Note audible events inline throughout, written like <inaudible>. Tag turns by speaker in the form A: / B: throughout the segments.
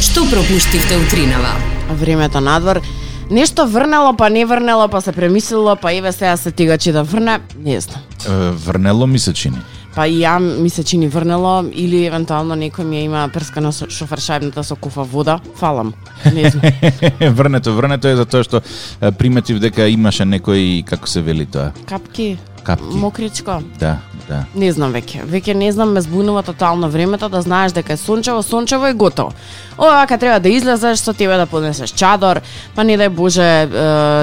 A: Што пропуштивте утринава?
B: Времето надвор. Нешто врнело, па не врнело, па се премислило, па еве сега се тигачи да врне, не знам.
C: Е, Врнело ми се чини. <laughs>
B: Па и ја ми се чини врнело или евентуално некој ми ја има прскана со шофершајбната со куфа вода. Фалам. Не знам.
C: врнето, врнето е затоа што е, приметив дека имаше некој како се вели тоа,
B: Капки,
C: капки.
B: мокричко.
C: Да, да.
B: Не знам веќе. Веќе не знам, ме збунува тотално времето да знаеш дека е сончево, сончево и готово. Овака треба да излезеш, со тебе да понесеш чадор, па не дај Боже, е,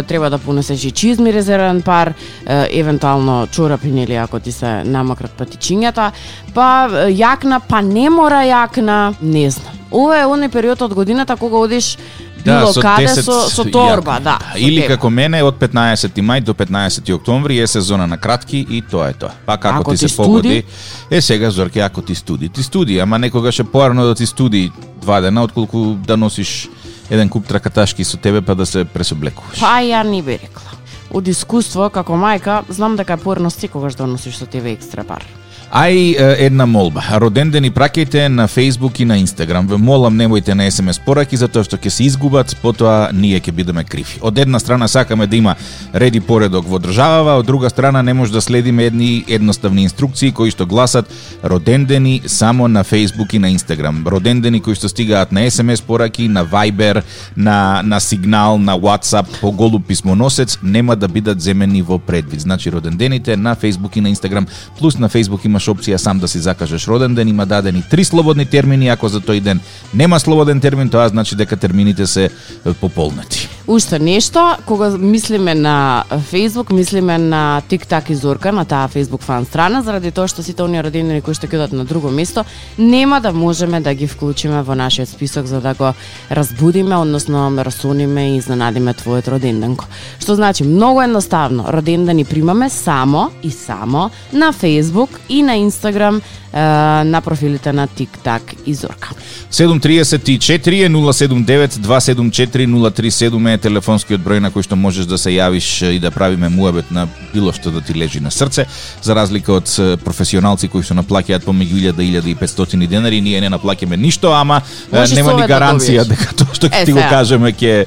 B: треба да понесеш и чизми резервен пар, е, евентуално чорапин или ако ти се намократ патичињата, па е, јакна, па не мора јакна, не знам. Ова е оној период од годината кога одиш
C: Да,
B: било каде Да, со, со торба,
C: јакни.
B: да. со
C: Или
B: тебе.
C: како мене од 15 мај до 15 октомври е сезона на кратки и тоа е тоа. Па како
B: Ако
C: ти,
B: ти
C: се погоди, е сега Зорке, ако ти студи, ти студи, ама некогаш е поарно да ти студи два дена отколку да носиш еден куп тракаташки со тебе па да се пресоблекуваш.
B: Па ја не би рекла. Од искуство, како мајка, знам дека е порно секогаш да носиш со тебе екстра пар.
C: Ај е, една молба. Роденден и праќајте на Facebook и на Instagram. Ве молам немојте на SMS пораки затоа што ќе се изгубат, потоа ние ќе бидеме криви. Од една страна сакаме да има ред и поредок во државава, од друга страна не може да следиме едни едноставни инструкции кои што гласат родендени само на Facebook и на Instagram. Родендени кои што стигаат на SMS пораки, на Viber, на на сигнал, на WhatsApp, по голу писмоносец нема да бидат земени во предвид. Значи родендените на Facebook и на Instagram, плюс на Facebook имаш опција сам да си закажеш роден ден, има дадени три слободни термини, ако за тој ден нема слободен термин, тоа значи дека термините се е, пополнати.
B: Уште нешто, кога мислиме на Facebook, мислиме на TikTok и Зорка, на таа Facebook фан страна, заради тоа што сите оние родендени кои што ќе одат на друго место, нема да можеме да ги вклучиме во нашиот список за да го разбудиме, односно расониме и изненадиме твојот роденденко. Што значи, многу едноставно, родендени примаме само и само на Facebook и на Instagram, е, на профилите на TikTok и Зорка.
C: 734 е 079 274 037 е телефонскиот број на кој што можеш да се јавиш и да правиме муабет на било што да ти лежи на срце. За разлика од е, професионалци кои што наплаќаат помеѓу 1000 и 1500 денари, ние не наплаќаме ништо, ама е,
B: Можеш
C: нема ни
B: совет да
C: гаранција
B: добиеш.
C: дека тоа што
B: Е,
C: ќе ти го
B: сега.
C: кажеме ќе е,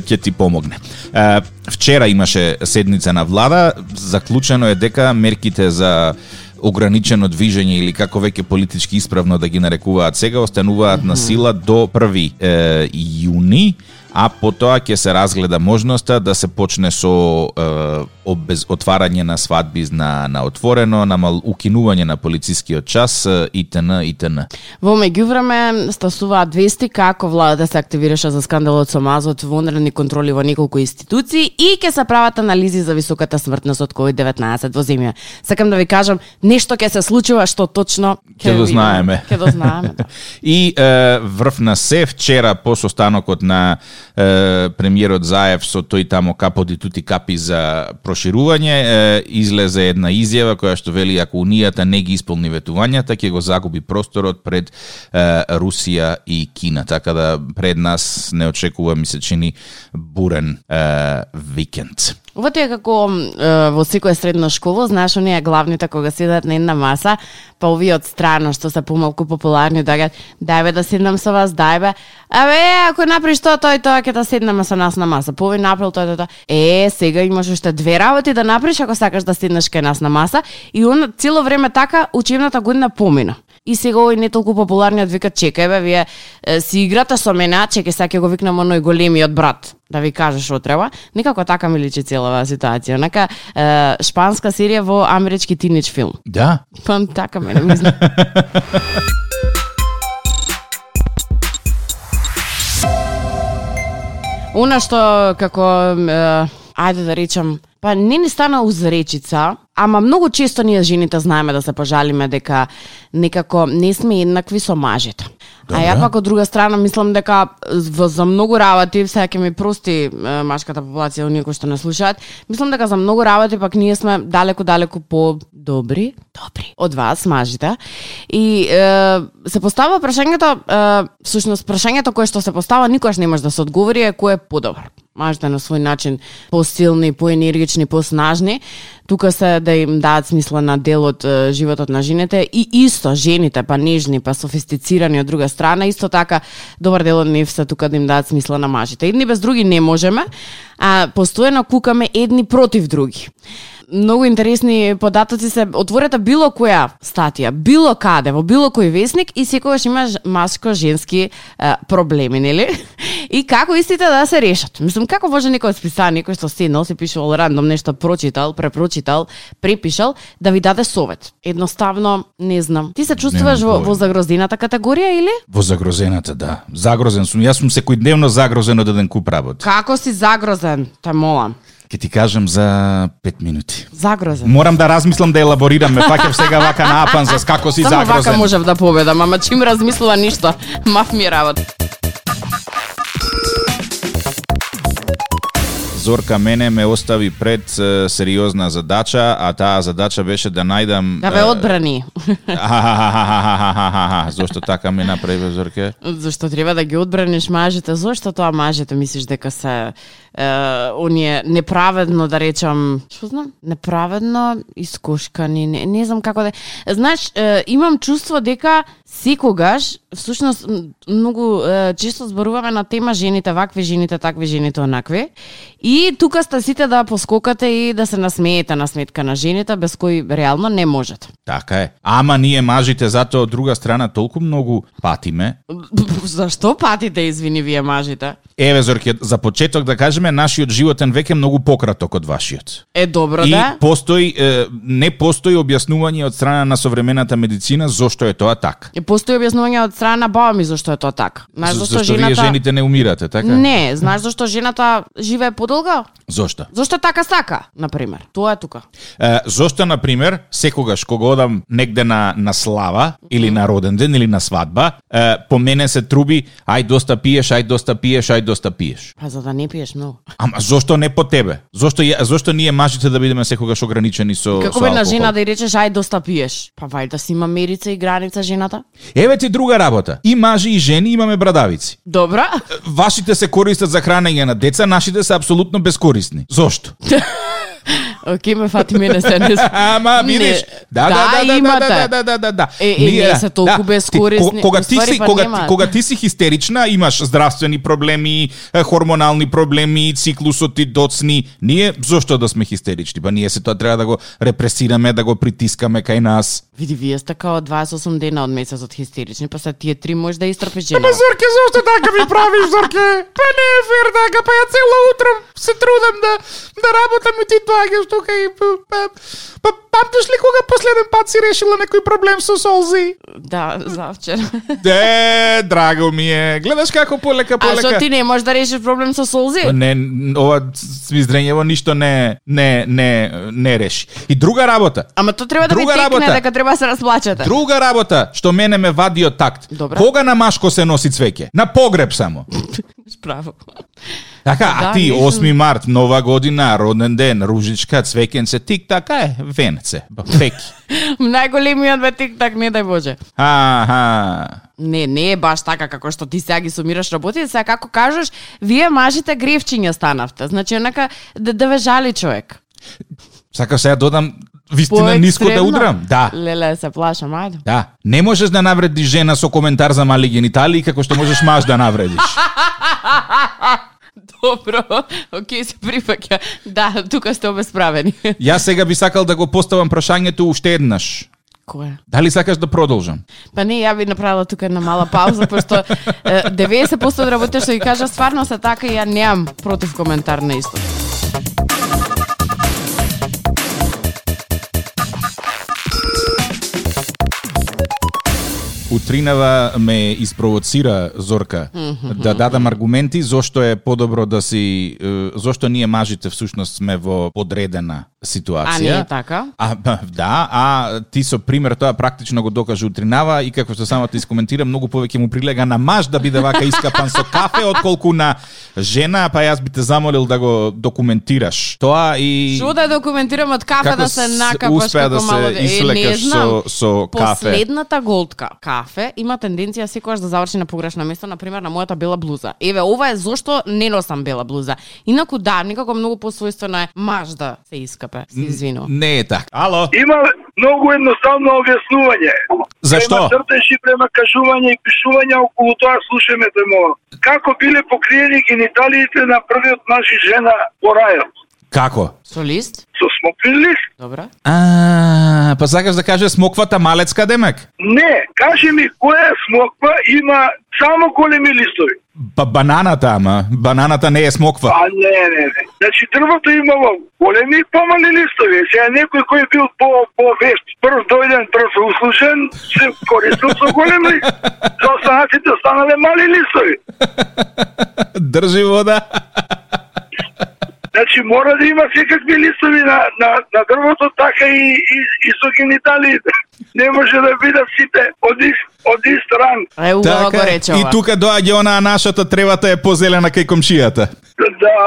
C: ќе ти помогне. Е, Вчера имаше седница на влада, заклучено е дека мерките за ограничено движење или како веќе политички исправно да ги нарекуваат сега остануваат на сила до 1 е, јуни, а потоа ќе се разгледа можноста да се почне со е, обез, отварање на свадби на на отворено, на мал, укинување на полицискиот час е, итн итн.
B: Во меѓувреме стасуваат вести како владата се активираше за скандалот со мазот, вонредни контроли во неколку институции и ќе се прават анализи за високата смртност од COVID-19 во земја. Сакам да ви кажам, нешто ќе се случува што точно
C: Ќе
B: ви
C: го
B: видиме.
C: знаеме.
B: Ќе го знаеме. да.
C: И е, врв на се вчера по состанокот на е, премиерот Заев со тој тамо каподи тути капи за проширување е, излезе една изјава која што вели ако унијата не ги исполни ветувањата ќе го загуби просторот пред е, Русија и Кина така да пред нас не очекува ми се чини бурен е, викенд.
B: Ова ти е како е, во секоја средна школа, знаеш, оние главните кога седат на една маса, па овие од страна што се помалку популарни доаѓаат, дај бе да седнам со вас, дај бе. Абе, ако направиш тоа, тој тоа ќе да седнеме со нас на маса. Пове направил тоа, тоа, тоа. Е, сега имаш уште две работи да направиш ако сакаш да седнеш кај нас на маса и он цело време така учебната година помина. И сега овој не толку популарниот вика чекај бе, вие е, си играте со мене, чекај сега ќе го викнам оној големиот брат да ви кажа што треба. Некако така ми личи цела оваа ситуација. Онака е, шпанска серија во амерички тинич филм. <laughs>
C: Да,
B: Па така мене ми изна- Она што како е, ајде да речам, па не ни стана узречица, ама многу често ние жените знаеме да се пожалиме дека некако не сме еднакви со мажите. А ја пак од друга страна мислам дека во- за многу работи, сега ќе ми прости е, машката популација, оние кои што не слушаат, мислам дека за многу работи пак ние сме далеку далеку по добри, добри од вас мажите. И е, се постава прашањето, е, всушност прашањето кое што се постава никогаш не може да се одговори е кој е подобар. мажда на свој начин посилни, поенергични, поснажни, тука се да им даат смисла на делот е, животот на жените и исто жените па нежни, па софистицирани од друга страна, исто така добар дел од нив се тука да им даат смисла на мажите. Едни без други не можеме, а постојано кукаме едни против други многу интересни податоци се отворете било која статија, било каде, во било кој весник и секогаш има машко-женски е, проблеми, нели? <laughs> И како истите да се решат? Мислам, како може некој од списа, некој што се носи, пишувал рандом нешто, прочитал, препрочитал, препишал, да ви даде совет? Едноставно, не знам. Ти се чувствуваш во,
C: појма.
B: во загрозената категорија или?
C: Во загрозената, да. Загрозен сум. Јас сум секојдневно загрозен од еден куп работа.
B: Како си загрозен? Те молам.
C: Ке ти кажам за 5 минути.
B: Загрозен.
C: Морам да размислам да елаборирам, ме фаќам сега вака напан за како си
B: Само
C: загрозен.
B: вака можев да победам, ама чим размислува ништо, <laughs> маф ми е работа.
C: Зорка мене ме остави пред е, сериозна задача, а таа задача беше да најдам...
B: Да ве
C: е,
B: одбрани. <laughs>
C: Ахахахахахаха, Зошто така ме направи Зорке?
B: Зашто треба да ги одбраниш мажите? Зошто тоа мажите мислиш дека се е, оние неправедно да речам, што знам, неправедно искошкани, не, не знам како да. Знаеш, е, имам чувство дека секогаш всушност м, многу е, често зборуваме на тема жените вакви, жените такви, жените онакви. И тука сте сите да поскокате и да се насмеете на сметка на жените без кои реално не можете.
C: Така е. Ама ние мажите затоа од друга страна толку многу патиме.
B: Зашто патите, извини вие мажите?
C: Еве Зорке, за почеток да кажеме, нашиот животен век е многу пократок од вашиот.
B: Е добро
C: И
B: да.
C: постои е, не постои објаснување од страна на современата медицина зошто е тоа така.
B: Е, Постои објаснување од страна на баба ми зашто е тоа така. Знаеш
C: З-
B: зашто,
C: зашто
B: жената...
C: вие жените не умирате, така?
B: Не, знаеш зашто жената живее подолго?
C: Зошто?
B: Зашто така сака, на пример. Тоа е тука.
C: Е, зошто, на пример, секогаш кога одам негде на, на слава или на роден ден или на свадба, е, по мене се труби, ај доста пиеш, ај доста пиеш, ај доста пиеш.
B: Па за да не пиеш многу.
C: Ама зошто не по тебе? Зошто ја- зошто ние мажите да бидеме секогаш ограничени со
B: Како
C: со
B: бе на
C: алкохол?
B: жена да ѝ речеш ај доста пиеш? Па вајда си има мерица и граница жената.
C: Еве ти друга работа. И мажи и жени имаме брадавици.
B: Добро. <laughs>
C: Вашите се користат за хранење на деца, нашите се апсолутно бескорисни. Зошто?
B: Оке, ме фати мене се не с-
C: <laughs> Ама видиш, да да да да
B: имате.
C: да да да да да да.
B: Е, е, не се толку бескорисни.
C: Ти, ко- кога
B: У
C: ти
B: ствари,
C: си
B: па
C: кога
B: нема.
C: кога ти си хистерична, имаш здравствени проблеми, е, хормонални проблеми, циклусот ти доцни. Ние зошто да сме хистерични? Па ние се тоа треба да го репресираме, да го притискаме кај нас.
B: Види, вие сте као 28 дена од месецот хистерични, па сега тие три може да
C: Па,
B: истрпиш жена.
C: Зорке, зошто така ми правиш, Зорке? Па не е фер така, па ја цело утро се трудам да да работам и ти доаѓаш тука и па, па памтиш ли кога последен пат си решила некој проблем со солзи?
B: Да, завчер.
C: Де, драго ми е. Гледаш како полека
B: А
C: полека.
B: што ти не можеш да решиш проблем со солзи?
C: Не, н- ова свиздрењево ништо не не не не реши. И друга работа.
B: Ама то треба да ви
C: Друга
B: текне
C: работа.
B: дека треба да се расплачете.
C: Друга работа што мене ме вади од такт.
B: Добра.
C: Кога на машко се носи цвеќе? На погреб само.
B: Справо.
C: Така, а
B: Да,
C: ти
B: ништо.
C: 8 март, нова година, роден ден, ружичка, цвеќенце, тик така е, венце,
B: <laughs>
C: пеки.
B: <laughs> Најголемиот бе тик так, не дај Боже.
C: Аха.
B: Не, не е баш така како што ти сега ги сумираш работите, сега како кажеш, вие мажите гревчиња станавте. Значи, онака, да, да ве жали човек.
C: Сака сега додам вистина ниско да
B: Поекстремно.
C: удрам. Да.
B: Леле, се плашам, ајде.
C: Да, не можеш да навредиш жена со коментар за мали гениталии како што можеш маж да навредиш.
B: Добро, окей, се прифаќа. Да, тука сте <laughs> обесправени.
C: Јас сега би сакал да го поставам прашањето уште еднаш.
B: Која?
C: Дали сакаш да продолжам?
B: Па не, ја би направила тука една мала пауза, пошто е, 90% од работите што ги кажа стварно се така и ја немам против коментар на исто.
C: Утринава ме испровоцира Зорка да дадам аргументи зошто е подобро да си е, зошто ние мажите всушност сме во подредена ситуација.
B: А не е така?
C: А, ба, да, а ти со пример тоа практично го докажа утринава и како што само ти искоментира, многу повеќе му прилега на маж да биде вака искапан со кафе отколку на жена, па јас би те замолил да го документираш. Тоа и
B: Што да документирам од кафе
C: Како
B: да се
C: с-
B: накапаш
C: успеа
B: како
C: да се
B: мало... Е, не
C: ислекаш
B: знам.
C: со- со кафе.
B: Последната голтка кафе кафе има тенденција секогаш да заврши на погрешно место, на пример на мојата бела блуза. Еве, ова е зошто не носам бела блуза. Инаку да, некако многу посвојствено е маж да се искапе. Се извинувам.
C: Не е така. Ало,
A: Има многу едноставно објаснување.
C: Зашто?
A: Према цртеши, према кажување и пишување, околу тоа слушаме да му. Како биле покриени гениталиите на првиот наши жена во рајот?
C: како?
B: Солист?
A: Со смоквен лист?
B: Добра.
C: А, па сакаш да кажеш смоквата малецка демек?
A: Не, кажи ми која смоква има само големи листови.
C: Па бананата, ама. Бананата не е смоква.
A: А не, не, не. Значи дрвото имало големи и помали листови. Сега некој кој е бил по по вешт, прв дојден, прв услушен, се користил со големи лист. За останатите останале мали листови.
C: Држи вода.
A: Значи мора да има секакви листови на, на, на дрвото, така и, и, и со гениталиите. <laughs> Не може да бидат сите од ист, од ист ран.
B: Е, убаво го рече
C: Така и
B: ова.
C: тука доаѓа онаа нашата тревата е позелена кај комшијата.
A: Да,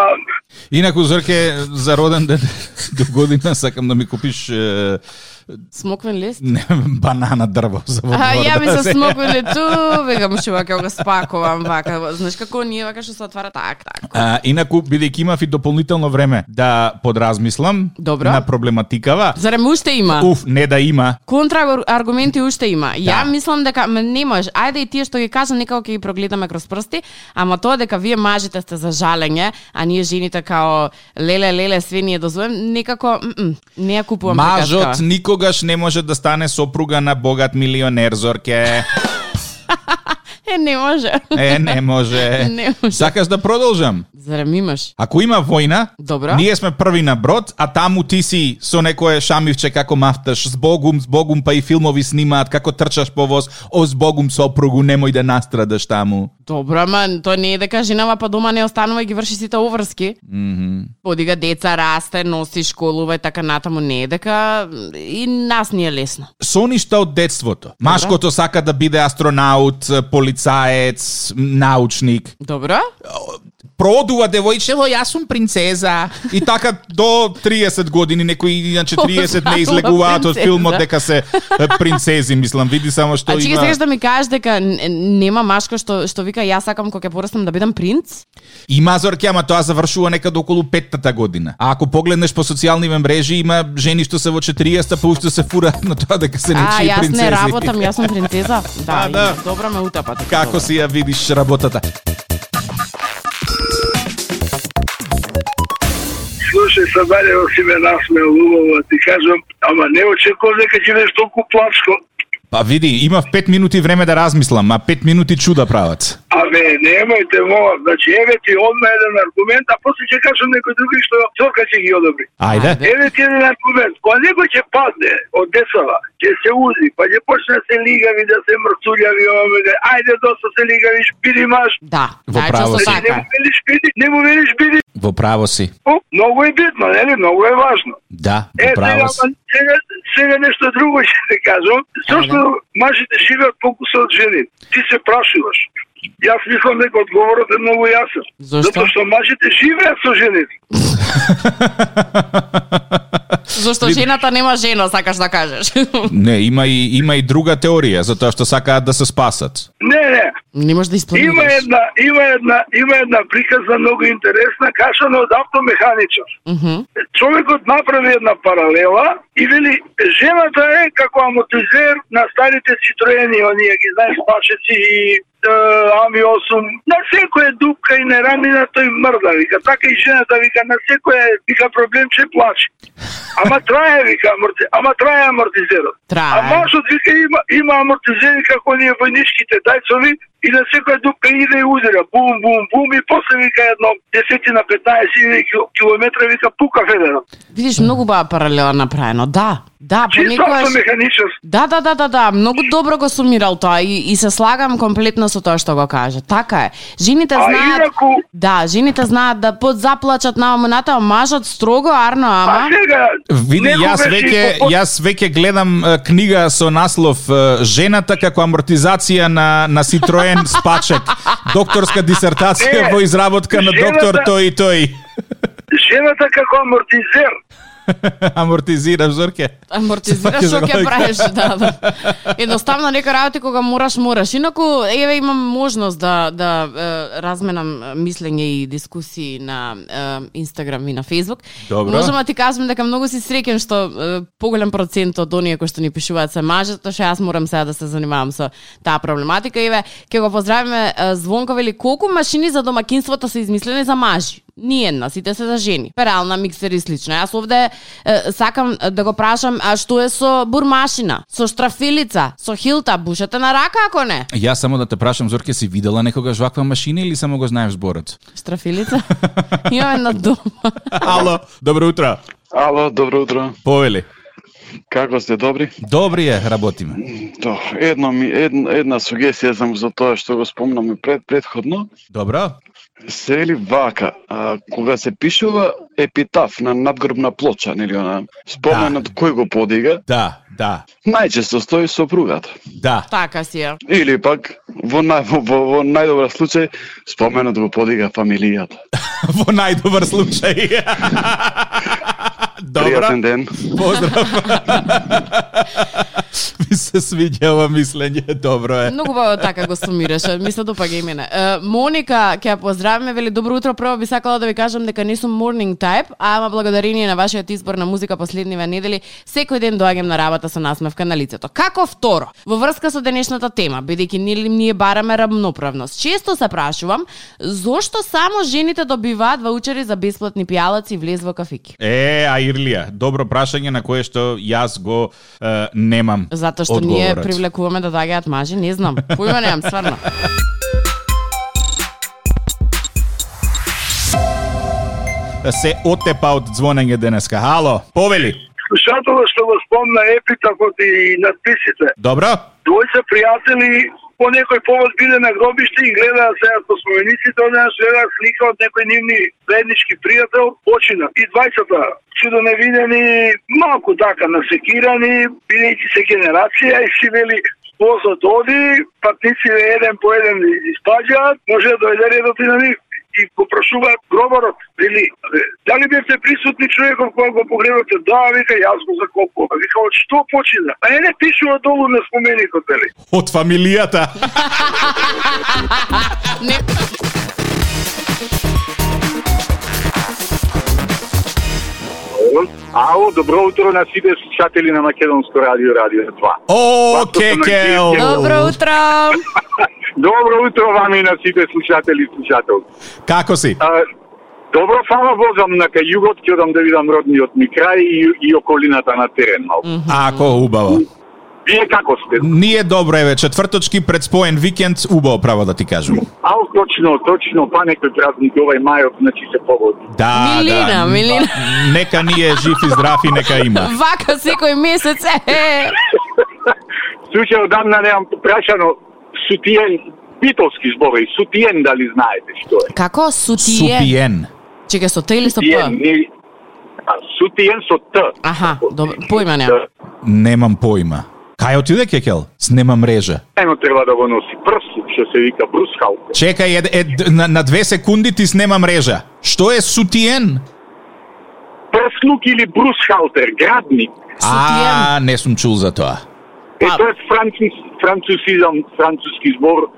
C: Инаку, Зорке, за роден ден <laughs> до година сакам да ми купиш е,
B: Смоквен лист?
C: не, банана дрво за во
B: А,
C: двор,
B: ја ми
C: да <laughs>
B: се смоквили ту, викам шува, ќе го спаковам, вака. Знаеш како ние, вака што се отвара так, так.
C: А, инаку, бидејќи имав и дополнително време да подразмислам
B: Добро.
C: на проблематикава,
B: Зарем уште има?
C: уф, не да има.
B: Контра аргументи уште има. Ја
C: Да.
B: мислам дека м, не можеш. Ајде и тие што ги кажам некако ќе ги прогледаме кроз прсти, ама тоа дека вие мажите сте за жалење, а ние жените као леле леле све ние дозволам, некако м, м, не ја купувам
C: Мажот
B: приказкава.
C: никогаш не може да стане сопруга на богат милионер, Зорке.
B: Е не
C: <laughs>
B: може.
C: Е, не може.
B: <laughs> Не може.
C: Сакаш да продолжам?
B: Зарем имаш?
C: Ако има војна,
B: Добро.
C: ние сме први на брод, а таму ти си со некое шамивче како мафташ, збогум, збогум, па и филмови снимаат, како трчаш по воз, о збогум сопругу, немој да настрадаш таму.
B: Добро, ама тоа не е дека женава па дома не останува и ги врши сите оврски.
C: Мгм.
B: Подига деца, расте, носи школува и така натаму не е дека и нас ни е лесно.
C: Со ништа од детството. Машкото сака да биде астронаут, полицаец, научник.
B: Добро?
C: Проодува девојчево, јас сум принцеза. И така до 30 години, некои иначе 30 не излегуваат од филмот дека се е, принцези, мислам. Види само што
B: А чеки
C: има...
B: сега да ми кажеш дека н- н- нема машка што што вика јас сакам кога ќе порастам да бидам принц?
C: Има зорке, ама тоа завршува некаде околу петтата година. А ако погледнеш по социјалниве мрежи, има жени што се во 40-та, па уште се фураат на тоа дека се
B: а,
C: нечии
B: јас
C: принцези.
B: не работам, јас сум
C: <laughs>
B: принцеза. Да,
C: А, да.
B: има. добро ме утапате.
C: Како
B: Добро.
C: си ја видиш работата?
A: слушај, са дале си ме насмеал убаво, ти кажам, ама не очекувам дека ќе бидеш толку плачко.
C: Па види, имав 5 минути време да размислам, а 5 минути чуда прават.
A: Абе, немојте мова, значи еве ти одма еден аргумент, а после ќе кажам некој други што цока ќе ги одобри.
C: Ајде.
B: Ајде.
A: Еве ти еден аргумент, кога некој ќе падне од десава, ќе се узи, па ќе почне да се лигави, да се мрцуљави, оваме, да, ајде доста се лигавиш, биди маш,
B: Да,
C: Во
B: значи
C: право
B: со
C: си.
A: Значи, не
B: така.
A: му велиш биди, не му велиш биди.
C: Во право си.
A: О, Многу е битно, нели? Многу е важно.
C: Да,
A: Е,
C: во право
A: сега,
C: си.
A: сега, сега нешто друго <laughs> ќе ти кажам. Зошто мажите живеат покуса од жени? Ти се прашуваш. Јас мислам дека одговорот е многу јасен.
B: Зошто?
A: Затоа што мажите живеат со жените.
C: <laughs>
B: Зошто
C: Види.
B: жената нема жена, сакаш да
C: <laughs>
B: кажеш.
C: Не, има и има и друга теорија за тоа што сакаат да се спасат.
A: Не, не.
B: не можеш да
A: Има
B: испланираш.
A: една, има една, има една приказна многу интересна, кажана од автомеханичар.
B: Мгм.
A: човекот направи една паралела и вели жената е како амортизер на старите Citroени, оние ги знаеш пашеци и е, Ами 8, на секоја дупка и неранина тој мрда, вика, така и жената, вика, на секоја, вика, проблемче плаче. Ама трае, вика, аморти... ама трае амортизерот.
B: Трае.
A: А машот, вика, има, има амортизери како оние војничките дајцови и на секоја дупка иде и удира, бум, бум, бум и после, вика, едно 10 на 15 кил- километра, вика, пука федерот.
B: Видиш многу баа паралела направено. Да. Да,
A: Чисто
B: понекогаш
A: автомеханичар.
B: Да, да, да, да, да, многу добро го сумирал тоа и, и се слагам комплетно со тоа што го каже. Така е. Жените
A: А
B: знаат
A: инаку-
B: Да, жените знаат да подзаплачат на омната, а мажот строго арно
A: А
B: ама.
A: сега...
C: Види,
A: некогаш
C: јас
A: и
C: веќе
A: по-
C: јас веќе гледам е, книга со наслов е, Жената како амортизација на на Citroen спачек. Докторска дисертација
A: Не,
C: во изработка на доктор
A: жената-
C: тој и тој.
A: Жената како амортизер.
C: <laughs> Амортизираш, Зорке.
B: Амортизираш
C: Сваќаш
B: што ќе
C: ролика.
B: правиш, да, да. Едноставно нека работи кога мораш, мораш. Инаку еве имам можност да да е, разменам е, мислење и дискусии на е, Инстаграм и на Facebook.
C: Добро.
B: Можам да ти кажам дека многу си среќен што е, поголем процент од оние кои што ни пишуваат се мажи, тоа што јас морам сега да се занимавам со таа проблематика. Еве, ќе го поздравиме е, Звонко вели колку машини за домакинството се измислени за мажи. Ни една, сите се за жени. Перална, миксер и слично. Јас овде е, сакам е, да го прашам, а што е со бурмашина, со штрафилица, со хилта, бушата на рака ако не?
C: Ја само да те прашам, Зорке, си видела некогаш ваква машина или само го знаеш зборот?
B: Штрафилица? <laughs> Имам една дома.
C: Ало, добро утро.
D: Ало, добро утро.
C: Повели.
D: Како сте добри?
C: Добри е, работиме.
D: То, едно ми, една, една сугесија за, за тоа што го спомнаме пред, предходно.
C: Добро?
D: Се ли вака, а, кога се пишува епитаф на надгробна плоча, нели она, споменот кој го подига,
C: Да, да,
D: најчесто стои сопругата.
C: да.
B: <laughs> Така си ја.
D: Или пак, во, нај, во, во, во најдобра случај, споменот го подига фамилијата.
C: <laughs> Во најдобар случај. <laughs>
D: Пријатен
C: Добро,
D: ден.
C: поздрав. <laughs> Ми се свиѓа ова мислење, добро е.
B: Многу баво така го сумираше. Мисля допаѓа и мене. Е, Моника, ќе ја поздравиме, вели добро утро. Прво би сакала да ви кажам дека не сум morning type, ама благодарение на вашиот избор на музика последниве недели, секој ден доаѓам на работа со насмевка на лицето. Како второ, во врска со денешната тема, бидејќи ние, ние бараме рамноправност, често се прашувам зошто само жените добиваат ваучери за бесплатни пијалаци и влез во кафики.
C: Е, а Ирлија, добро прашање на кое што јас го е, немам
B: Затоа што ние
C: одговорот.
B: привлекуваме да доаѓаат мажи, не знам. Појма немам, стварно.
C: се отепа од звонење денеска. Ало, повели.
A: Слушателот што го спомна епитафот и надписите.
C: Добро?
A: Двојца пријатели по некој повод биле на гробиште и гледаа сега по спомениците, одеднаш гледаа слика од некој нивни заеднички пријател, почина. И двајцата чудо невидени, малку така насекирани, бидејќи се генерација и си вели возот оди, патниците еден по еден испаѓаат, може да дојде редот и на нив и го прашуваат гробарот, вели, «Абе, дали бевте присутни човеков кога го погребате? Да, вика, јас го закопувам. Вика, од што почина? А не, не пишува долу на споменикот, вели.
C: Од
B: <laughs>
C: фамилијата.
B: Не.
E: Ало, добро утро на сите слушатели на Македонско радио, радио 2.
C: О, кекел.
B: Добро утро.
E: Добро утро вами на сите слушатели и слушателки.
C: Како си?
E: А, Добро, фала возам на кај југот, ќе одам да видам родниот ми крај и, и околината на терен малку.
C: Ако убаво.
E: Вие како сте?
C: Ние добро еве, четврточки пред споен викенд, убаво право да ти кажам.
E: Ау, точно, точно, па некој празник овај мајот, значи се погоди.
C: Да,
B: Милина,
C: да.
B: Милина.
C: Нека ние жив и здрав и нека има.
B: Вака секој месец. Е,
E: Слушај, одамна немам прашано, сутиен, битовски збори, сутиен дали знаете што е?
B: Како сутие?
C: Супиен.
B: Чека со Т или со
E: Сутиен,
B: П?
E: не... а, сутиен со Т.
B: Аха, добро, појма нема.
C: Немам појма. Кај отиде кекел? С нема мрежа.
E: Ено треба да го носи прсу, што се вика брусхалка.
C: Чекај, е, е, на, на две секунди ти снема мрежа. Што е сутиен?
E: Прснук или брусхалтер, градник.
C: А, не сум чул за тоа.
E: Е,
B: Па-
E: тоа е француз, францусизам, француски збор,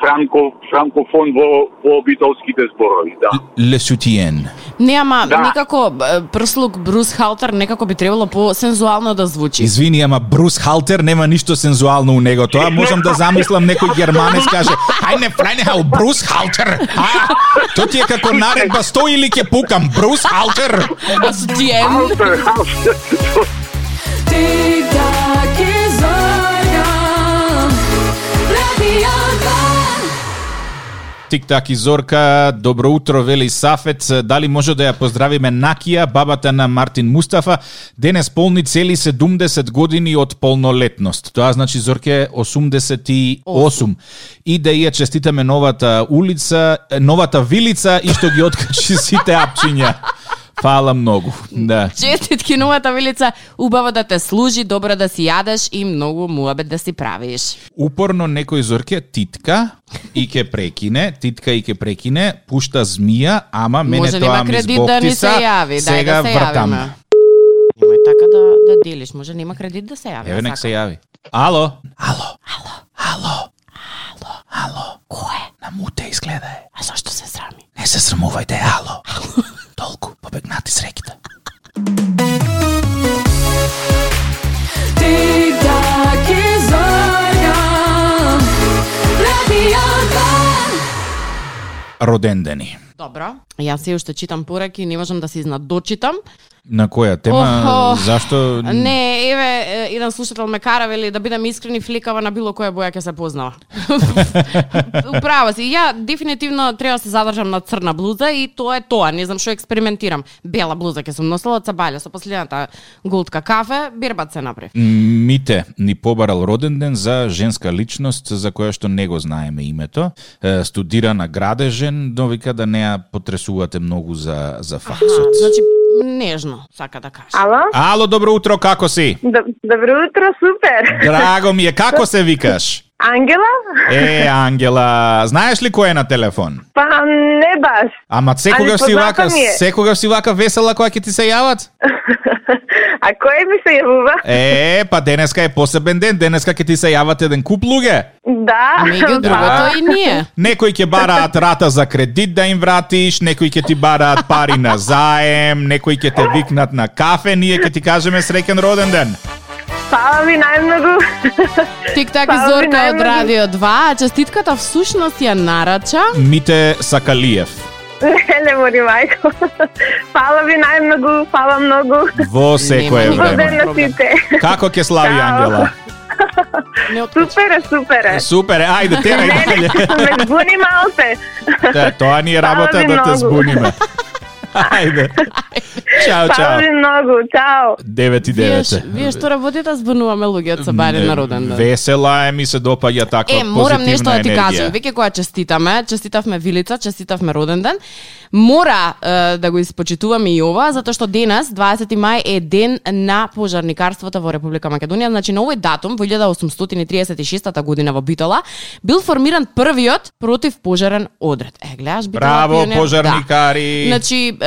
E: франко, франкофон во, во битолските зборови,
B: <laughs>
E: да.
C: Ле сутиен.
B: Не, ама
E: Да.
B: некако б, прслуг Брус Халтер некако би требало по-сензуално да звучи.
C: Извини, ама Брус Халтер нема ништо сензуално у него. Тоа можам да замислам некој германец каже, ај не фрајне хау, Брус Халтер. А, тоа ти е како наредба, стои или ќе пукам, Брус Халтер.
B: А сутие?
E: Халтер, халтер.
F: Tic-tac is organ. Radio One.
C: Тик-так и Зорка, добро утро, вели Сафет. Дали може да ја поздравиме Накија, бабата на Мартин Мустафа, денес полни цели 70 години од полнолетност. Тоа значи Зорке 88. И да ја честитаме новата улица, е, новата вилица и што ги откачи сите апчиња. Фала многу. Да.
B: Честитки новата вилица, убаво да те служи, добро да си јадеш и многу муабет да си правиш.
C: Упорно некој зорке титка и ке прекине, титка и ке прекине, пушта змија, ама мене
B: Може да
C: тоа
B: има
C: ми
B: кредит да ни
C: збоктиса,
B: се јави, дај
C: сега
B: да се јавиме.
C: вртам.
B: така да, да делиш. Може нема кредит да се јави.
C: Еве нек се јави. Ало?
B: Кој е?
C: На муте изгледа е.
B: А зашто се срами?
C: Не се срамувајте, ало. Толку побегнати с реките.
F: Тик-так и зорган, радио Ван.
C: Роден дени.
B: Добро. Јас се уште читам пораки, не можам да се изнадочитам.
C: На која тема?
B: Охо.
C: Зашто?
B: Не, еве, е, еден слушател ме кара, вели, да бидам искрени, фликава на било која боја ќе се
C: <laughs>
B: познава. Управо си. Ја дефинитивно треба да се задржам на црна блуза и тоа е тоа. Не знам што експериментирам. Бела блуза ќе сум носела од Сабаља со последната голтка кафе, бирбат се направи.
C: Мите ни побарал роден ден за женска личност за која што не го знаеме името. Е, Студира на градежен, но вика да не ја потресувате многу за, за факсот.
B: Значи, нежно, сака да каже.
G: Ало?
C: Ало, добро утро, како си?
G: Доб- Добро утро, супер.
C: Драго ми е, како се викаш?
G: Ангела?
C: Е, Ангела, знаеш ли кој е на телефон?
G: Па не баш.
C: Ама секогаш
G: Ами,
C: си
G: позната
C: вака,
G: ми е.
C: секогаш си вака весела која ќе ти се јават?
G: А кој ми се јавува?
C: Е, па денеска е посебен ден, денеска ќе ти се јават еден куп луѓе.
G: Да.
B: Меѓу
G: па,
B: другото и ние.
C: Некои ќе бараат рата за кредит да им вратиш, некои ќе ти бараат пари на заем, некои ќе те викнат на кафе, ние ќе ти кажеме среќен роден ден.
G: Фала ви најмногу.
B: Тик-так и
G: Па,
B: Зорка од
G: најмногу.
B: Радио 2, а честитката всушност ја нарача
C: Мите Сакалиев.
G: Не, не мори мајко. Фала ви најмногу, фала многу.
C: Во секое
B: Нема
G: Добар ден
C: време.
G: на сите.
C: Како ќе слави
G: Чао.
C: Ангела?
B: не откача.
G: Супер, е, супер. е.
C: Супер, е, ајде тема
G: Не,
C: дале.
G: ме збуни малце.
C: Та, тоа ни е работа
G: Фала ви
C: да те
G: многу.
C: збуниме. Ајде. Чао,
G: Фала
C: чао.
G: ви многу, чао.
C: 9 и
B: Вие,
C: 9.
B: вие што работите, а збунуваме луѓе од Сабари на роден ден.
C: Весела е, ми се допаѓа таква
B: Е, морам
C: позитивна
B: нешто да ти
C: енергија.
B: кажам. Веќе кога честитаме, честитавме Вилица, честитавме роден ден, мора е, да го испочитуваме и ова, затоа што денес, 20 мај, е ден на пожарникарството во Република Македонија. Значи, на овој датум, во 1836 година во Битола, бил формиран првиот противпожарен одред. Е, гледаш, Битола
C: Браво,
B: пионер, да.
C: пожарникари.
B: Значи, е,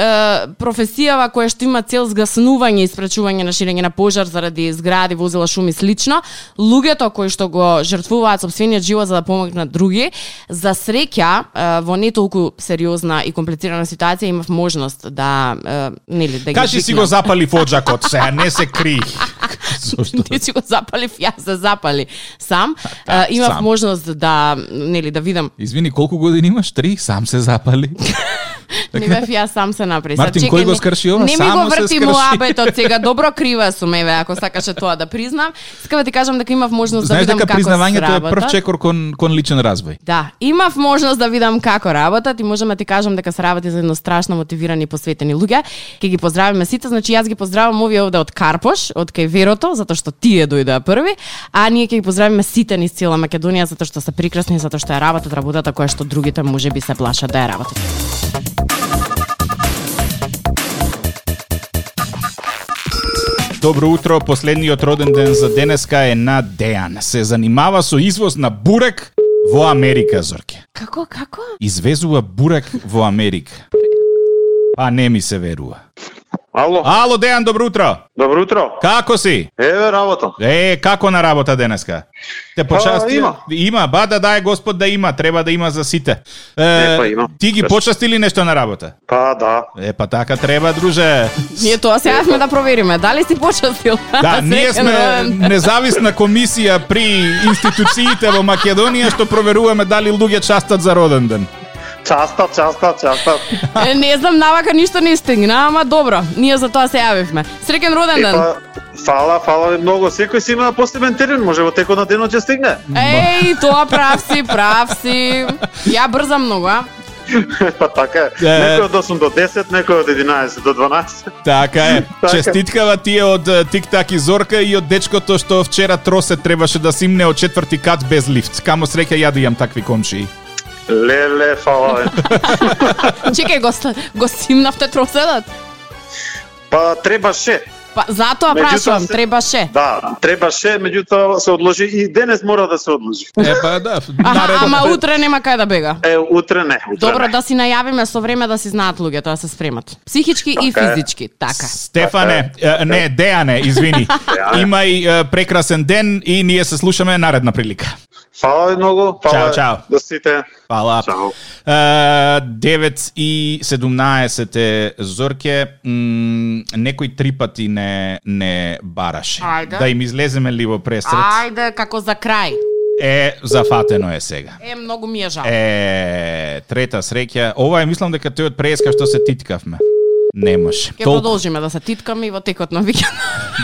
B: професијава која што има цел згаснување и спречување на ширење на пожар заради згради, возила, шум и слично, луѓето кои што го жртвуваат собствениот живот за да помогнат други, за среќа е, во не толку сериозна и комплицирана ситуација имав можност да е, нели да ги
C: Кажи си
B: викнам.
C: го
B: <laughs>
C: запали фоджакот, сега не се кри. Зошто?
B: ти си го запалив, <laughs> јас се запали сам.
C: да,
B: Е, имав
C: сам.
B: можност да нели да видам.
C: Извини, колку години имаш? Три? Сам
B: <laughs>
C: се запали?
B: Не бев јас сам се направи. Сега,
C: Така. Мартин,
B: чекај,
C: кој го
B: не-
C: скрши ова?
B: Не ми
C: Само
B: го
C: се
B: врти
C: скрши.
B: муабетот сега. Добро крива сум, еве, ако сакаше тоа да признам. Сакам да ти кажам дека имав можност да
C: Знаеш
B: видам
C: дека
B: како
C: признавањето е
B: сработат.
C: прв чекор кон, кон личен развој.
B: Да, имав можност да видам како работат и можам да ти кажам дека се работи за едно страшно мотивирани и посветени луѓе. Ке ги поздравиме сите, значи јас ги поздравам овие овде од Карпош, од Кајверото, затоа што тие дојдоа први, а ние ќе ги поздравиме сите низ цела Македонија затоа што се прекрасни, затоа што ја работат работата која што другите можеби се плашат да ја работат.
C: Добро утро, последниот роден ден за денеска е на Дејан. Се занимава со извоз на бурек во Америка, Зорке.
B: Како, како?
C: Извезува бурек во Америка. Па не ми се верува.
D: Ало,
C: Ало, Дејан, добро утро.
D: добро утро.
C: Како си?
D: Еве работа.
C: Е, како на работа денеска? Те почасти...
D: А, има.
C: Има, ба да дај господ да има, треба да има за сите. Е,
D: Е, па има.
C: Ти ги
D: Прашај.
C: почасти ли нешто на работа?
D: Па да.
C: Е, па така треба, друже.
B: Ние тоа се јавме да провериме, дали си почестил? <laughs> Среќен
C: Да, ние сме
B: роден ден.
C: <laughs> независна комисија при институциите во Македонија што проверуваме дали луѓе частат за роден ден.
D: Часта, часта, часта.
B: Е, Не знам, навака ништо не стигна, ама добро, ние за тоа се јавивме. Среќен роден
D: Е,
B: ден.
D: па, фала, фала ви многу. Секој си има посебен терен, може во текот на денот ќе стигне. <laughs>
B: Еј, тоа прав си, прав си. Ја брзам многу, а?
D: па така е.
C: Е.
D: Некој од 8 до 10, некој од 11 до 12.
C: Така е.
D: Така.
C: Честиткава тие од е, Тик-так и Зорка и од дечкото што вчера тросе требаше да симне од четврти кат без лифт. Камо среќа ја да имам такви комшии.
D: Леле, фала ви.
B: Чекај, го, с- го симнавте троседот?
D: Па требаше.
B: Па, затоа
H: Меѓутоа
B: прашувам,
H: се-
B: требаше.
H: Да, требаше, меѓутоа се одложи и денес мора да се одложи.
C: Е, па да,
B: Аха,
C: наредба.
B: ама утре нема кај да бега.
H: Е, утре не. Утре
B: Добро
H: не.
B: да си најавиме со време да си знаат луѓето да се спремат. Психички и
H: Така е.
B: физички, така.
C: Стефане, Па, е, не, Дејане, извини. <laughs> Имај е, прекрасен ден и ние се слушаме наредна прилика.
H: Фала ви многу.
C: Чао,
H: Фала
C: чао.
H: до сите.
C: Фала.
H: Чао.
C: Е, 9 и 17 е Зорке, м, некој три пати не, не бараше.
B: Ајде.
C: Да им излеземе ливо пресред.
B: Ајде, како за крај.
C: Е, зафатено е сега.
B: Е, многу ми е жал.
C: Е, трета среќа. Ова е, мислам дека тој од преска што се титкавме. Не може.
B: Ке
C: Толку-
B: продолжиме да се титкаме и во текот на викенд.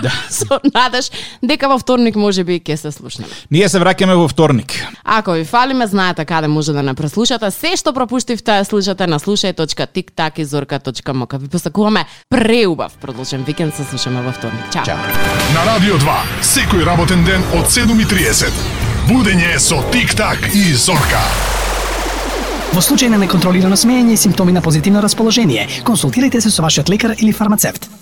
B: Да. <laughs> Со надеж дека во вторник може би ќе се слушнеме.
C: Ние се враќаме во вторник.
B: Ако ви фалиме, знаете каде може да не преслушате. Се што пропуштивте, слушате на slušaj.tiktakizorka.moka. Ви посакуваме преубав продолжен викенд. Се слушаме во вторник. Чао.
C: Чао.
I: На Радио 2, секој работен ден од 7.30. Будење со Тик-так и Зорка.
J: Во случај на неконтролирано смеење и симптоми на позитивно расположение, консултирайте се со вашиот лекар или фармацевт.